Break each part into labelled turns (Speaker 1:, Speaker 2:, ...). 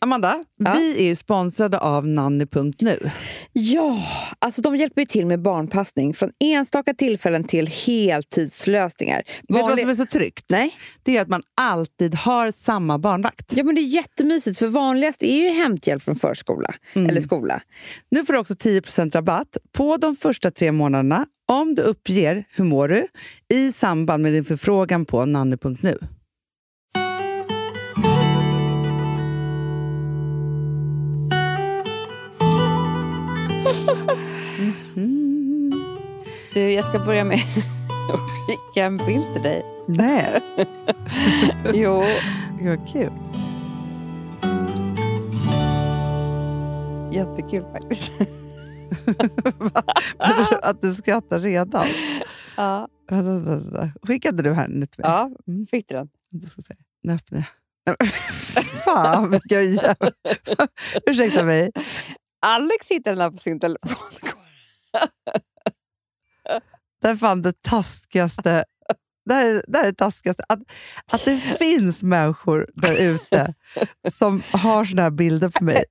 Speaker 1: Amanda,
Speaker 2: Ja.
Speaker 1: vi är ju sponsrade av nanny.nu.
Speaker 2: Ja, alltså de hjälper ju till med barnpassning från enstaka tillfällen till heltidslösningar.
Speaker 1: Vet du vad
Speaker 2: Vanlig-
Speaker 1: som är så tryggt?
Speaker 2: Nej.
Speaker 1: Det är att man alltid har samma barnvakt.
Speaker 2: Ja, men det är jättemysigt, för vanligast är ju hämthjälp från förskola eller skola.
Speaker 1: Nu får du också 10 rabatt på de första tre månaderna om du uppger hur mår du i samband med din förfrågan på nanny.nu.
Speaker 2: Du, jag ska börja med att skicka en bild till dig.
Speaker 1: Nej,
Speaker 2: Jo,
Speaker 1: vad kul.
Speaker 2: jättekul faktiskt.
Speaker 1: Att du skrattar redan.
Speaker 2: Ja,
Speaker 1: Vänta, vänta, vänta. Skickade du här nu till mig?
Speaker 2: ja fick du den?
Speaker 1: Jag ska se. Nu öppnar jag. Nej, men Fan, vilka jävla... Ursäkta mig.
Speaker 2: Alex hittade den här på sin telefon.
Speaker 1: Det här är fan det taskigaste. Det här är det, här är det taskigaste. Att, att det finns människor där ute som har såna här bilder på mig.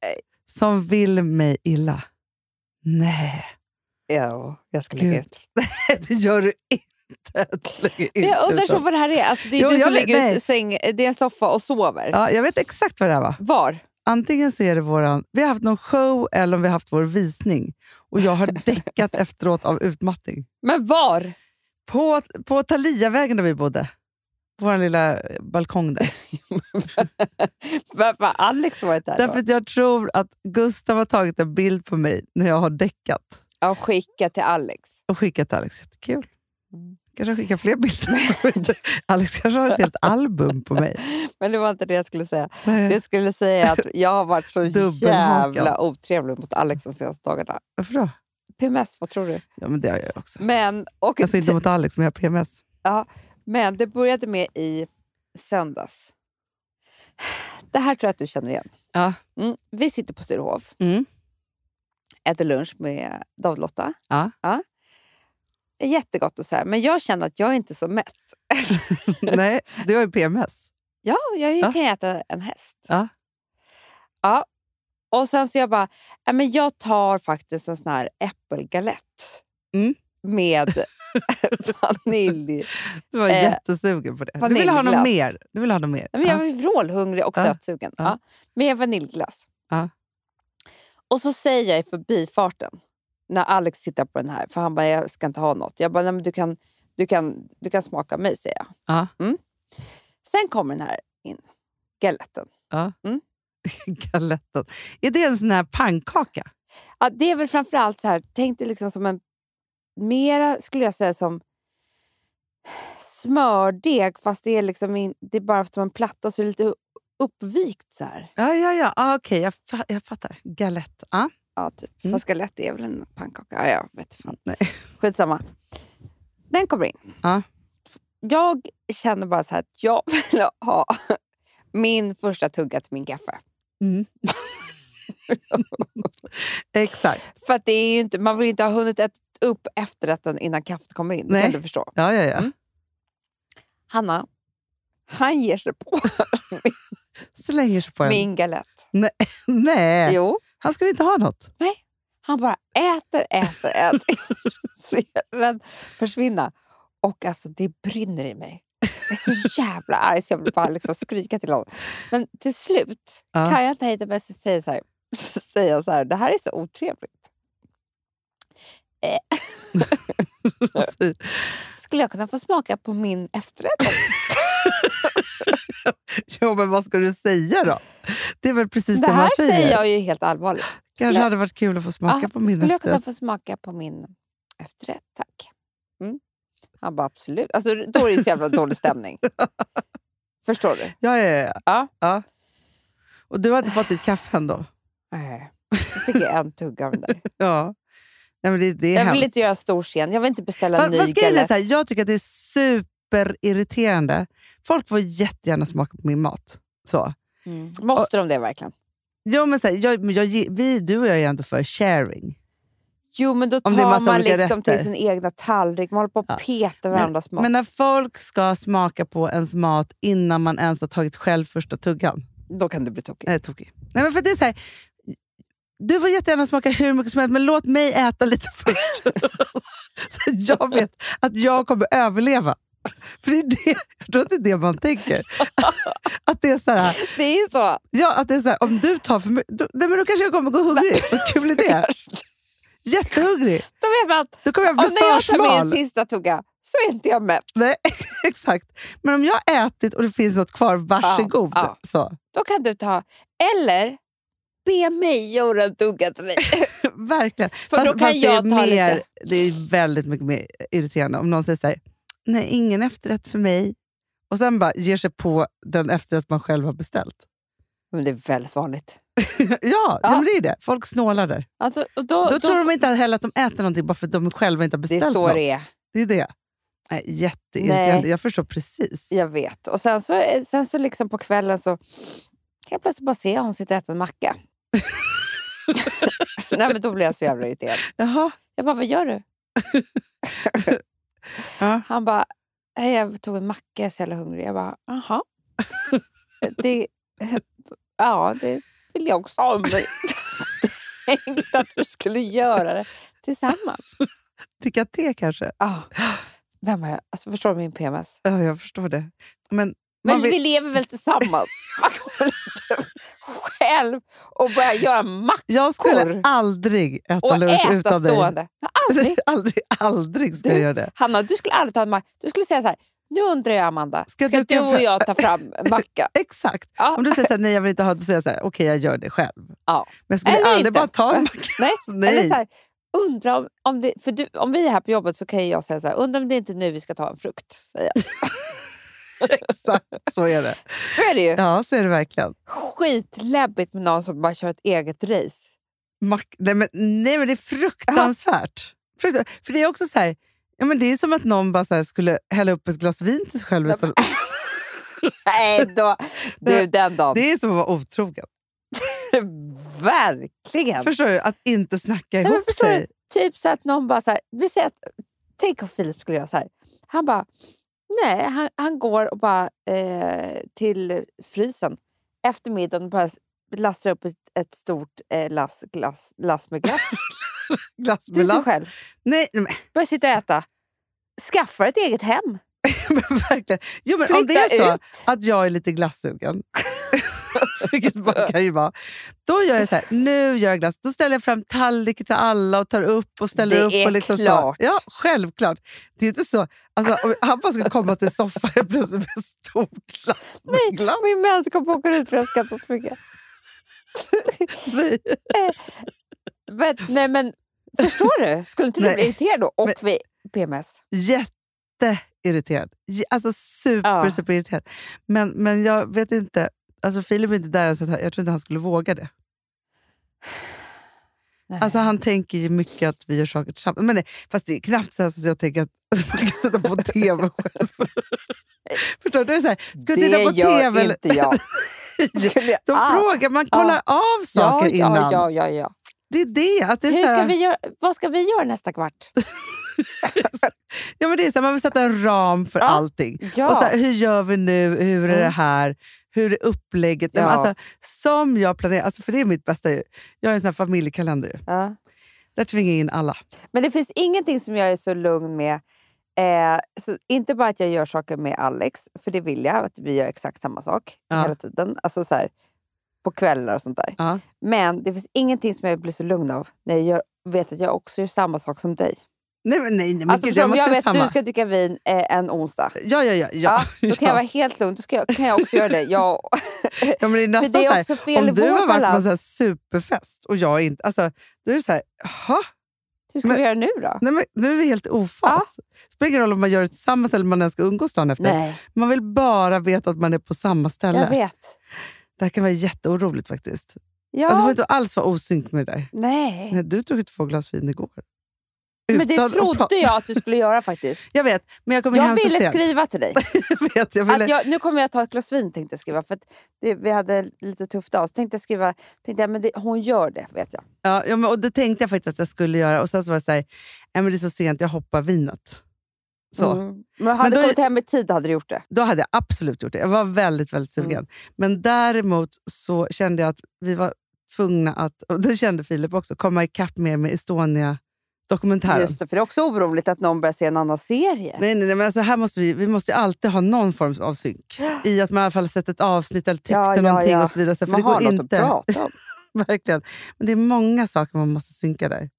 Speaker 1: Som vill mig illa. Nej,
Speaker 2: Ja, jag ska lägga
Speaker 1: Gud.
Speaker 2: ut.
Speaker 1: det gör du inte. Det lägger
Speaker 2: Men jag
Speaker 1: inte
Speaker 2: undrar
Speaker 1: ut dem.
Speaker 2: så vad det här är. Alltså, det är
Speaker 1: Jo,
Speaker 2: du
Speaker 1: jag
Speaker 2: som
Speaker 1: vet-
Speaker 2: ligger i
Speaker 1: nej.
Speaker 2: säng, det är en soffa och sover.
Speaker 1: ja, jag vet exakt vad det här var.
Speaker 2: Var?
Speaker 1: Antingen så är det våran... Vi har haft någon show eller om vi har haft vår visning. Och jag har däckat efteråt av utmattning.
Speaker 2: Men var?
Speaker 1: På, på Taliavägen där vi bodde. Vår lilla balkong där.
Speaker 2: Varför har Alex varit där
Speaker 1: Därför
Speaker 2: då?
Speaker 1: att jag tror att Gustav har tagit en bild på mig när jag har däckat
Speaker 2: Ja, skicka till Alex.
Speaker 1: och skickat till Alex. Jättekul.
Speaker 2: Mm.
Speaker 1: Kanske han skickar fler bilder. Alex kanske har ett helt album på mig.
Speaker 2: Men det var inte det jag skulle säga.
Speaker 1: Nej,
Speaker 2: Jag skulle säga att jag har varit så
Speaker 1: Dubbelhakad.
Speaker 2: jävla otrevlig mot Alex de senaste dagarna.
Speaker 1: Varför då?
Speaker 2: PMS, vad tror du?
Speaker 1: Ja, men det har jag också.
Speaker 2: Men, och,
Speaker 1: Alltså inte mot Alex, men jag har PMS.
Speaker 2: men det började med i söndags. Det här tror jag att du känner igen.
Speaker 1: Ja.
Speaker 2: Mm. Vi sitter på Sturehof,
Speaker 1: Mm.
Speaker 2: äter lunch med David och Lotta.
Speaker 1: Ja.
Speaker 2: Jättegott och så här, men jag känner att jag är inte så mätt.
Speaker 1: Nej, du har ju PMS.
Speaker 2: Ja, jag
Speaker 1: Ja.
Speaker 2: kan ju äta en häst.
Speaker 1: Ja.
Speaker 2: Ja. Och sen så jag bara, "Nej, men jag tar faktiskt en sån här äppelgalett
Speaker 1: Mm.
Speaker 2: med vanilj.
Speaker 1: Du var
Speaker 2: Eh,
Speaker 1: jättesugen på det. Du ville ha något
Speaker 2: vaniljglass.
Speaker 1: mer. Du ville ha något mer.
Speaker 2: Nej, Men jag
Speaker 1: Ja.
Speaker 2: var ju vrålhungrig och
Speaker 1: Ja.
Speaker 2: sötsugen.
Speaker 1: Ja.
Speaker 2: Ja. Med vaniljglass.
Speaker 1: Ja.
Speaker 2: Och så säger jag i förbifarten, när Alex tittar på den här, för han bara, jag ska inte ha något. Jag bara, Nej, men du, kan, du, kan, du kan smaka mig, säger jag.
Speaker 1: Ja.
Speaker 2: Mm. Sen kommer den här in, galetten.
Speaker 1: Galetten. Är det en sån här pannkaka?
Speaker 2: Ja, det är väl framförallt så här, tänk dig liksom som en, mera skulle jag säga som smördeg fast det är, liksom in, det är bara som en platta så det är lite uppvikt så här.
Speaker 1: Ja, ja, ja. Ah, Okej, jag, fa- jag fattar. Galett. Ah.
Speaker 2: Ja, typ.
Speaker 1: Mm.
Speaker 2: Fast galett är väl en pannkaka? Ja, jag vet fan.
Speaker 1: Nej.
Speaker 2: Skitsamma. Den kommer in.
Speaker 1: Ja.
Speaker 2: Jag känner bara så här att jag vill ha min första tugga till min kaffe.
Speaker 1: Exakt.
Speaker 2: För att det är ju inte, man vill ju inte ha hunnit äta upp efterrätten innan kaffet kommer in. Det
Speaker 1: Nej.
Speaker 2: kan du förstå.
Speaker 1: Ja, ja, ja.
Speaker 2: Hanna, han ger sig på
Speaker 1: Slänger sig på en.
Speaker 2: min galett.
Speaker 1: Nej,
Speaker 2: Jo,
Speaker 1: han skulle inte ha något.
Speaker 2: han bara äter, äter, äter. Ser den försvinna. Och alltså, det brinner i mig. Jag är så jävla arg så jag vill bara liksom skrika till honom. Men till slut
Speaker 1: Ja.
Speaker 2: kan jag inte hejda mig så säger jag så här, så säger jag så här, det här är så otrevligt. Skulle jag kunna få smaka på min efterrätt?
Speaker 1: jo, men vad ska du säga då? Det är väl precis det,
Speaker 2: Det
Speaker 1: man
Speaker 2: här
Speaker 1: säger.
Speaker 2: säger jag ju helt allvarligt.
Speaker 1: Kanske hade varit kul att få smaka
Speaker 2: Ja,
Speaker 1: på min
Speaker 2: Ah, Skulle jag kunna
Speaker 1: efterrätt.
Speaker 2: få smaka på min efterrätt, tack? Mm. Han bara, absolut. Alltså, då är det ju så jävla dålig stämning. Förstår du?
Speaker 1: Ja, ja, ja.
Speaker 2: Ja.
Speaker 1: Och du har inte fått ditt kaffe ändå?
Speaker 2: Nej. Jag fick jag en tugga av den där.
Speaker 1: Ja. Nej, men det, det är
Speaker 2: Jag vill
Speaker 1: hemskt.
Speaker 2: inte göra stor scen. Jag vill inte beställa
Speaker 1: Fa-
Speaker 2: en ny
Speaker 1: fast grejen är
Speaker 2: galett.
Speaker 1: så här, jag tycker att det är superirriterande. Folk får jättegärna smaka på min mat. Så.
Speaker 2: Mm. Måste de det verkligen?
Speaker 1: Jo, men så här, jag, men jag, ge- vi, du och jag är ändå för sharing.
Speaker 2: Jo, men då
Speaker 1: Om det är
Speaker 2: tar
Speaker 1: massa
Speaker 2: man
Speaker 1: olika
Speaker 2: liksom till
Speaker 1: rätter.
Speaker 2: sin egna tallrik. Man håller på
Speaker 1: Ja.
Speaker 2: och petar varandras mat.
Speaker 1: Men när folk ska smaka på ens mat innan man ens har tagit själv första tuggan.
Speaker 2: Då kan du bli tokig.
Speaker 1: Nej, tokig. Nej, men för det är så här, du får jättegärna smaka hur mycket som helst, men låt mig äta lite först. så att jag vet att jag kommer överleva. För det är det, jag tror att det är det man tänker. Att det är så här,
Speaker 2: Det är så.
Speaker 1: ja, att det är så här om du tar för mycket, då, nej, men då kanske jag kommer gå hungrig. Vad kul är det? Jättehungrig.
Speaker 2: Då vet man att
Speaker 1: Då kommer jag bli
Speaker 2: om när
Speaker 1: för
Speaker 2: jag tar
Speaker 1: smal.
Speaker 2: min sista tugga så är inte jag mätt.
Speaker 1: Nej, exakt. Men om jag har ätit och det finns något kvar, varsågod.
Speaker 2: ja.
Speaker 1: Så.
Speaker 2: Då kan du ta, eller be mig göra en tugga till dig.
Speaker 1: Verkligen.
Speaker 2: För då kan jag
Speaker 1: Alltså, det, är
Speaker 2: ta
Speaker 1: mer,
Speaker 2: lite.
Speaker 1: det är väldigt mycket mer irriterande om någon säger så här, nej, ingen efterrätt för mig. Och sen bara ger sig på den efterrätt man själv har beställt.
Speaker 2: Men det är väldigt vanligt.
Speaker 1: ja, ja.
Speaker 2: Ja.
Speaker 1: men det är det. Folk snålar där.
Speaker 2: Alltså, och då,
Speaker 1: Då,
Speaker 2: då
Speaker 1: tror de inte heller att de äter någonting bara för att de själva inte har
Speaker 2: Det
Speaker 1: beställt
Speaker 2: är så
Speaker 1: något.
Speaker 2: det är.
Speaker 1: Det är det. Nej, jätteirriterande.
Speaker 2: Nej.
Speaker 1: Jag förstår precis.
Speaker 2: Jag vet. Och sen så, sen så liksom på kvällen så kan jag plötsligt bara se att hon sitter och äter en macka. Nej men då blir jag så jävla irriterad.
Speaker 1: Jaha.
Speaker 2: Jag bara, vad gör du?
Speaker 1: Ja.
Speaker 2: Han bara, "Nej, jag tog en macka, jag är så jävla hungrig. Jag bara, jaha. Det, ja, det vill jag också ha. Men jag tänkte att vi skulle göra det tillsammans.
Speaker 1: Dricka te kanske?
Speaker 2: Ja. Ah, Vem har jag? Alltså, förstår du min PMS?
Speaker 1: Ja, jag förstår det. Men,
Speaker 2: Men
Speaker 1: man vill-
Speaker 2: vi lever väl tillsammans? Man kommer väl inte själv och börja göra mackor
Speaker 1: Jag skulle
Speaker 2: Korv.
Speaker 1: aldrig äta
Speaker 2: och
Speaker 1: lunch
Speaker 2: äta
Speaker 1: utan dig.
Speaker 2: stående. Jag har Aldrig.
Speaker 1: aldrig, aldrig ska
Speaker 2: Du-
Speaker 1: jag göra det.
Speaker 2: Hanna, du skulle aldrig ta en macka. Du skulle säga så här, nu undrar jag Amanda,
Speaker 1: Ska
Speaker 2: ska,
Speaker 1: du
Speaker 2: du,
Speaker 1: kan
Speaker 2: och
Speaker 1: fram-
Speaker 2: jag ta fram en macka?
Speaker 1: Exakt.
Speaker 2: Ja.
Speaker 1: Om du säger så här, nej jag vill inte ha det, så säger jag så här, okej jag gör det själv. Men
Speaker 2: Ja.
Speaker 1: jag skulle
Speaker 2: Eller
Speaker 1: aldrig
Speaker 2: inte.
Speaker 1: bara ta en macka.
Speaker 2: Nej. Eller
Speaker 1: Nej.
Speaker 2: så här, undra om, om, det, för du, om vi är här på jobbet så kan jag säga så här, undra om det inte är nu vi ska ta en frukt. Säger jag.
Speaker 1: Exakt, så är det.
Speaker 2: Så är det ju.
Speaker 1: Ja, så är det verkligen.
Speaker 2: Skitläbbigt med någon som bara kör ett eget race.
Speaker 1: Mack- nej, men, nej men det är fruktansvärt. Fruktan- För det är också så här, ja, men det är som att någon bara så här skulle hälla upp ett glas vin till sig själv. Utan,
Speaker 2: Nej då, du den dagen.
Speaker 1: det är som att vara otrogen.
Speaker 2: Verkligen.
Speaker 1: Förstår du? Att inte snacka
Speaker 2: Nej, men
Speaker 1: ihop
Speaker 2: förstår
Speaker 1: sig.
Speaker 2: Typ så att någon bara så här, vi säger att, tänk om Filip skulle göra så här. Han bara, nej, han, han går och bara eh, till frysen efter middagen och bara lastar upp ett, ett stort eh, lass, glass, lass med glass
Speaker 1: Glass med
Speaker 2: till sig
Speaker 1: lapp.
Speaker 2: själv.
Speaker 1: Nej, nej,
Speaker 2: Börjar sitta och äta. Skaffar ett eget hem.
Speaker 1: men, men verkligen. Jo, men
Speaker 2: Flytta
Speaker 1: om det är så,
Speaker 2: ut.
Speaker 1: att jag är lite glassugen. Vilket man kan ju vara. Då gör jag så här, nu gör jag glass. Då ställer jag fram tallriken till alla och tar upp och ställer
Speaker 2: Det
Speaker 1: upp.
Speaker 2: är
Speaker 1: och liksom
Speaker 2: klart.
Speaker 1: Så. Ja, självklart. Det är inte så. Alltså, om han bara skulle komma till soffan helt plötsligt med ett stort glass. med
Speaker 2: Nej,
Speaker 1: glass.
Speaker 2: Min mens kom på att gå ut för jag skrattar så mycket.
Speaker 1: Nej.
Speaker 2: Men, nej, men förstår du? Skulle inte du
Speaker 1: Nej.
Speaker 2: bli irriterad då? Och
Speaker 1: Men-
Speaker 2: vi PMS.
Speaker 1: Jätteirriterad. J- Alltså super,
Speaker 2: Ja.
Speaker 1: superirriterad. Men, men jag vet inte. Alltså Filip är inte där än, så att han- jag tror inte han skulle våga det.
Speaker 2: Nej.
Speaker 1: Alltså han tänker ju mycket att vi gör saker tillsammans. Men nej, fast det är knappt så, här så jag tänker att alltså, man kan sätta på tv själv. Förstår du? Då är det så här, ska vi titta på
Speaker 2: gör
Speaker 1: tv? eller-
Speaker 2: inte jag. Skulle jag
Speaker 1: De frågar, man
Speaker 2: Ja.
Speaker 1: kollar av saker
Speaker 2: ja,
Speaker 1: innan.
Speaker 2: Ja, ja, ja.
Speaker 1: Det är det. Att det är
Speaker 2: Hur
Speaker 1: så
Speaker 2: ska
Speaker 1: här,
Speaker 2: vi göra, vad ska vi göra nästa kvart?
Speaker 1: ja, men det är så här, man vill sätta en ram för
Speaker 2: Ja.
Speaker 1: allting.
Speaker 2: Ja.
Speaker 1: Och så här, hur gör vi nu? Hur är
Speaker 2: Mm.
Speaker 1: det här? Hur är upplägget? Nej, men
Speaker 2: Ja.
Speaker 1: Alltså, som jag planerar, alltså, för det är mitt bästa. ju. Jag har en sån här familjekalender. ju.
Speaker 2: ja.
Speaker 1: Där tvingar jag in alla.
Speaker 2: Men det finns ingenting som jag är så lugn med. Eh, så inte bara att jag gör saker med Alex, för det vill jag, att vi gör exakt samma sak
Speaker 1: Ja.
Speaker 2: hela tiden. Alltså så här, på kvällar och sånt där.
Speaker 1: Ja.
Speaker 2: Men det finns ingenting som jag blir så lugn av när jag gör, vet att jag också gör samma sak som dig.
Speaker 1: Nej, men, nej, nej, men
Speaker 2: alltså,
Speaker 1: gud,
Speaker 2: förstår
Speaker 1: jag
Speaker 2: du? om
Speaker 1: måste
Speaker 2: jag
Speaker 1: göra
Speaker 2: vet att
Speaker 1: samma.
Speaker 2: du ska dricka vin eh, en onsdag.
Speaker 1: Ja, ja, ja. ja.
Speaker 2: Ja, då kan
Speaker 1: Ja.
Speaker 2: jag vara helt lugn. Då ska jag, kan jag också göra det. Jag,
Speaker 1: Ja, men det är
Speaker 2: för
Speaker 1: nästan
Speaker 2: det
Speaker 1: så
Speaker 2: är
Speaker 1: här,
Speaker 2: också fel i
Speaker 1: om du har
Speaker 2: vår
Speaker 1: varit på en
Speaker 2: balans.
Speaker 1: så här superfest och jag inte... Alltså, då är det så här, jaha,
Speaker 2: Hur ska
Speaker 1: Men-
Speaker 2: vi göra nu då?
Speaker 1: nej, men nu är vi helt ofas. Det spelar ingen roll om man gör det tillsammans eller om man ens ska umgås dagen efter.
Speaker 2: Nej,
Speaker 1: Man vill bara veta att man är på samma
Speaker 2: jag
Speaker 1: ställe.
Speaker 2: vet.
Speaker 1: Det här kan vara jätteoroligt faktiskt.
Speaker 2: Ja,
Speaker 1: Alltså, man får inte alls vara osynk med det där.
Speaker 2: nej.
Speaker 1: Nej, du tog ju två glas vin igår.
Speaker 2: Men
Speaker 1: Utan
Speaker 2: det
Speaker 1: att prata-
Speaker 2: trodde jag att du skulle göra faktiskt.
Speaker 1: Jag vet, men jag kom ju
Speaker 2: Jag
Speaker 1: hem så
Speaker 2: ville
Speaker 1: sent.
Speaker 2: skriva till dig.
Speaker 1: jag vet, jag ville...
Speaker 2: Att jag, nu kommer jag ta ett glas vin tänkte jag skriva. För att det, vi hade lite tufft av oss. Tänkte jag skriva, tänkte jag, men det, hon gör det vet jag.
Speaker 1: Ja, ja, men, och det tänkte jag faktiskt att jag skulle göra. Och sen så var det så här, nej, men det är så sent, jag hoppar vinet. Så.
Speaker 2: Mm. Men hade
Speaker 1: Men då-
Speaker 2: du kommit hem i tid hade du gjort det.
Speaker 1: Då hade jag absolut gjort det. Jag var väldigt, väldigt sugen.
Speaker 2: Mm.
Speaker 1: Men däremot så kände jag att vi var tvungna att, och det kände Filip också, komma ikapp mer med Estonia-dokumentären.
Speaker 2: Just det, för det är också oroligt att någon börjar se en annan serie.
Speaker 1: Nej, nej, nej, men alltså här måste vi, vi måste ju alltid ha någon form av synk. I att man i alla fall har sett ett avsnitt eller tyckte
Speaker 2: Ja, ja,
Speaker 1: någonting
Speaker 2: ja.
Speaker 1: och så vidare. Så för
Speaker 2: Man
Speaker 1: det
Speaker 2: har
Speaker 1: går
Speaker 2: något
Speaker 1: inte.
Speaker 2: att prata om.
Speaker 1: Verkligen. Men det är många saker man måste synka där.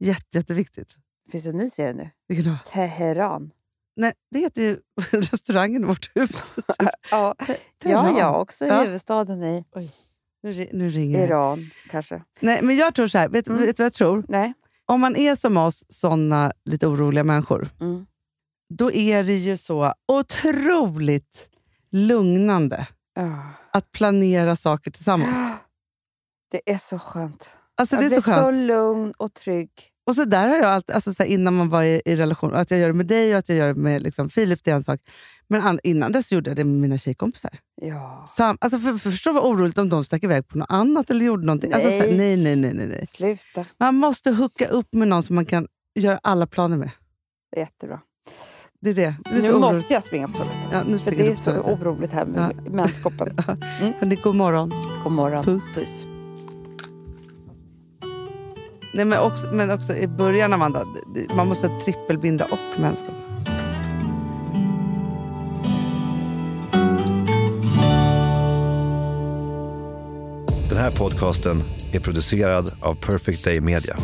Speaker 1: Jätte, jätteviktigt.
Speaker 2: Finns det en ny serie nu?
Speaker 1: Vilken då?
Speaker 2: Teheran.
Speaker 1: Nej, det heter ju restaurangen i vårt hus. Typ.
Speaker 2: Ja,
Speaker 1: Teheran.
Speaker 2: ja, ja också
Speaker 1: Ja.
Speaker 2: huvudstaden i
Speaker 1: Nu, ri- nu ringer det.
Speaker 2: Iran kanske.
Speaker 1: Nej, men jag tror så här. Vet,
Speaker 2: Mm.
Speaker 1: vet du vad jag tror?
Speaker 2: Nej.
Speaker 1: Om man är som oss, såna lite oroliga människor,
Speaker 2: Mm.
Speaker 1: då är det ju så otroligt lugnande
Speaker 2: Ja.
Speaker 1: att planera saker tillsammans.
Speaker 2: Det är så skönt.
Speaker 1: Alltså det är
Speaker 2: jag
Speaker 1: så
Speaker 2: blir så
Speaker 1: skönt.
Speaker 2: lugn och trygg.
Speaker 1: Och så där har jag alltid, alltså så här, innan man var i, i relation, och att jag gör det med dig och att jag gör det med liksom, Filip, det är en sak. Men an, innan dess gjorde jag det med mina tjejkompisar.
Speaker 2: Ja.
Speaker 1: Sam, alltså för, för förstå vad oroligt om de stack iväg på något annat eller gjorde någonting. Nej. Alltså, så här, nej,
Speaker 2: Nej.
Speaker 1: nej, nej, nej, nej.
Speaker 2: Sluta.
Speaker 1: Man måste hooka upp med någon som man kan göra alla planer med.
Speaker 2: Jättebra.
Speaker 1: Det är det. Jag blir
Speaker 2: Nu
Speaker 1: så orolig.
Speaker 2: måste jag springa på toaletten.
Speaker 1: Ja, nu
Speaker 2: För
Speaker 1: springer
Speaker 2: det är
Speaker 1: jag på
Speaker 2: så
Speaker 1: toaletten.
Speaker 2: oroligt här med menskoppen.
Speaker 1: Hörni, god morgon.
Speaker 2: God morgon.
Speaker 1: Puss.
Speaker 2: Puss.
Speaker 1: Nej, men, också, men också i början, Amanda. det- det- Man måste trippelbinda och mänskap.
Speaker 3: Den här podcasten är producerad av Perfect Day Media.